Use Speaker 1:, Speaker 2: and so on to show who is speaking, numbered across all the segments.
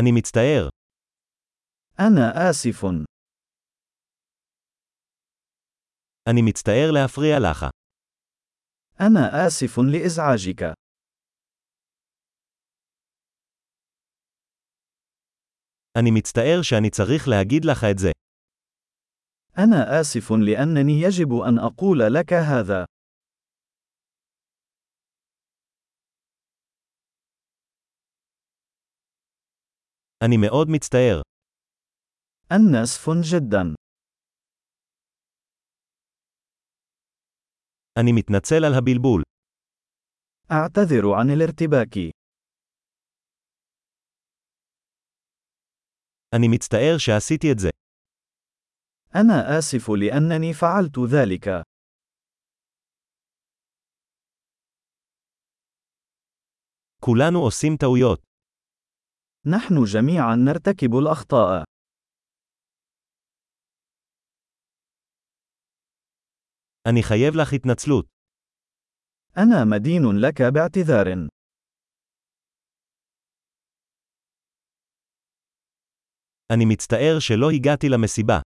Speaker 1: אני מצטער.
Speaker 2: أنا آسف.
Speaker 1: אני מצטער להפריע לך.
Speaker 2: أنا آسف لإزعاجك.
Speaker 1: אני מצטער שאני צריך להגיד לך את זה.
Speaker 2: أنا آسف لأنني يجب أن أقول لك هذا.
Speaker 1: אני מאוד מצטער.
Speaker 2: أنا آسف جدا.
Speaker 1: אני מתנצל על הבלבול.
Speaker 2: أعتذر عن الارتباك.
Speaker 1: אני מצטער שעשיתי את זה.
Speaker 2: أنا آسف لأنني فعلت ذلك.
Speaker 1: כולנו עושים טעויות.
Speaker 2: نحن جميعا نرتكب الأخطاء.
Speaker 1: אני חייב לך התנצלות.
Speaker 2: أنا مدين لك باعتذار.
Speaker 1: אני מצטער שלא הגעתי למסיבה.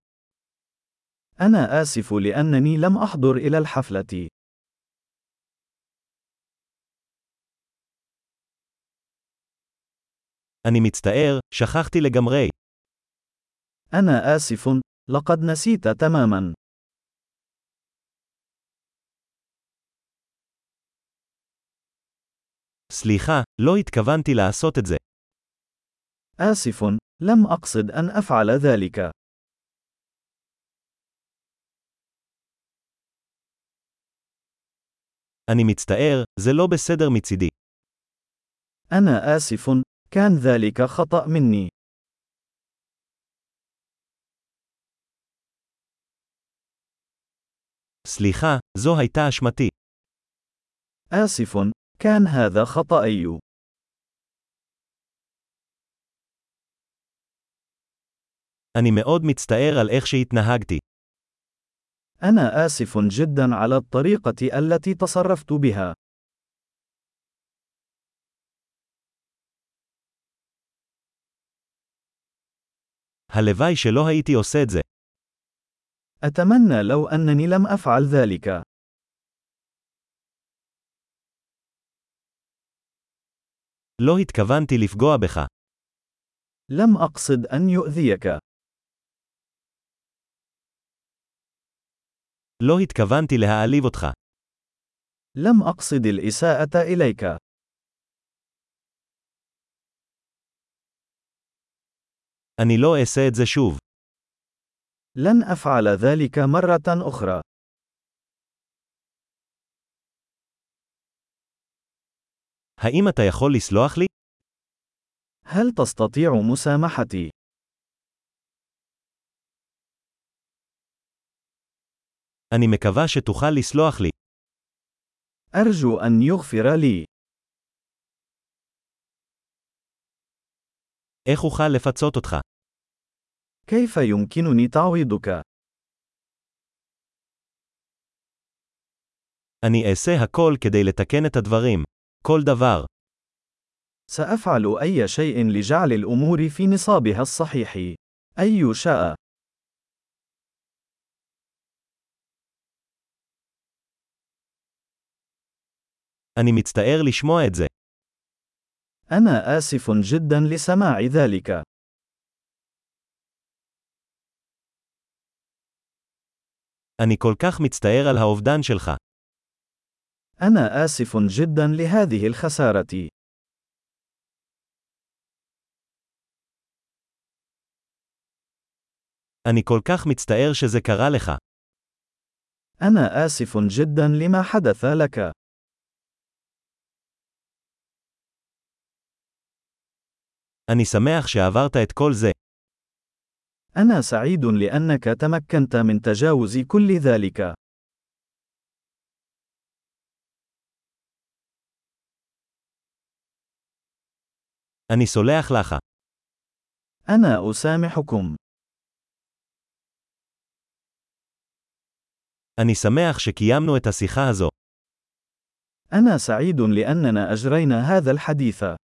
Speaker 2: أنا آسف لأنني لم أحضر إلى الحفلة.
Speaker 1: אני מצטער, שכחתי לגמרי.
Speaker 2: أنا آسف، لقد نسيت تماما.
Speaker 1: סליחה, לא התכוונתי לעשות את זה.
Speaker 2: آسف، لم أقصد أن أفعل ذلك.
Speaker 1: אני מצטער, זה לא בסדר מצידי.
Speaker 2: أنا آسف، كان ذلك خطأ مني.
Speaker 1: סליחה, זו הייתה אשמתי.
Speaker 2: آسف، كان هذا خطأي.
Speaker 1: אני מאוד מצטער על איך שהתנהגתי.
Speaker 2: أنا آسف جدا على الطريقة التي تصرفت بها.
Speaker 1: הלוואי שלא הייתי עושה את זה.
Speaker 2: أتمنى لو أنني لم أفعل ذلك.
Speaker 1: לא התכוונתי לפגוע בך.
Speaker 2: لم أقصد أن يؤذيك.
Speaker 1: לא התכוונתי להעליב אותך.
Speaker 2: لم أقصد الإساءة إليك.
Speaker 1: אני לא אעשה את זה שוב.
Speaker 2: لن أفعل ذلك مرة أخرى.
Speaker 1: האם אתה יכול לסלוח לי?
Speaker 2: هل تستطيع مسامحتي؟
Speaker 1: אני מקווה שתוכל לסלוח לי.
Speaker 2: أرجو أن يغفر لي.
Speaker 1: איך אוכל לפצות אותך?
Speaker 2: كيف يمكنني تعويضك؟
Speaker 1: אני אעשה הכל כדי לתקן את הדברים. כל דבר.
Speaker 2: سأفعل أي شيء لجعل الأمور في نصابها الصحيح. أي شاء.
Speaker 1: אני מצטער לשמוע את זה.
Speaker 2: أنا آسف جدا لسماع ذلك.
Speaker 1: אני כל כך מצטער על האובדן שלך.
Speaker 2: أنا آسف جدا لهذه الخسارة.
Speaker 1: אני כל כך מצטער שזה קרה לך.
Speaker 2: أنا آسف جدا لما حدث لك.
Speaker 1: אני שמח שעברת את כל זה.
Speaker 2: أنا سعيد لأنك تمكنت من تجاوز كل ذلك.
Speaker 1: אני סולח לך.
Speaker 2: أنا أسامحكم.
Speaker 1: אני שמח שקיימנו את השיחה הזו.
Speaker 2: أنا سعيد لأننا أجرينا هذا الحديث.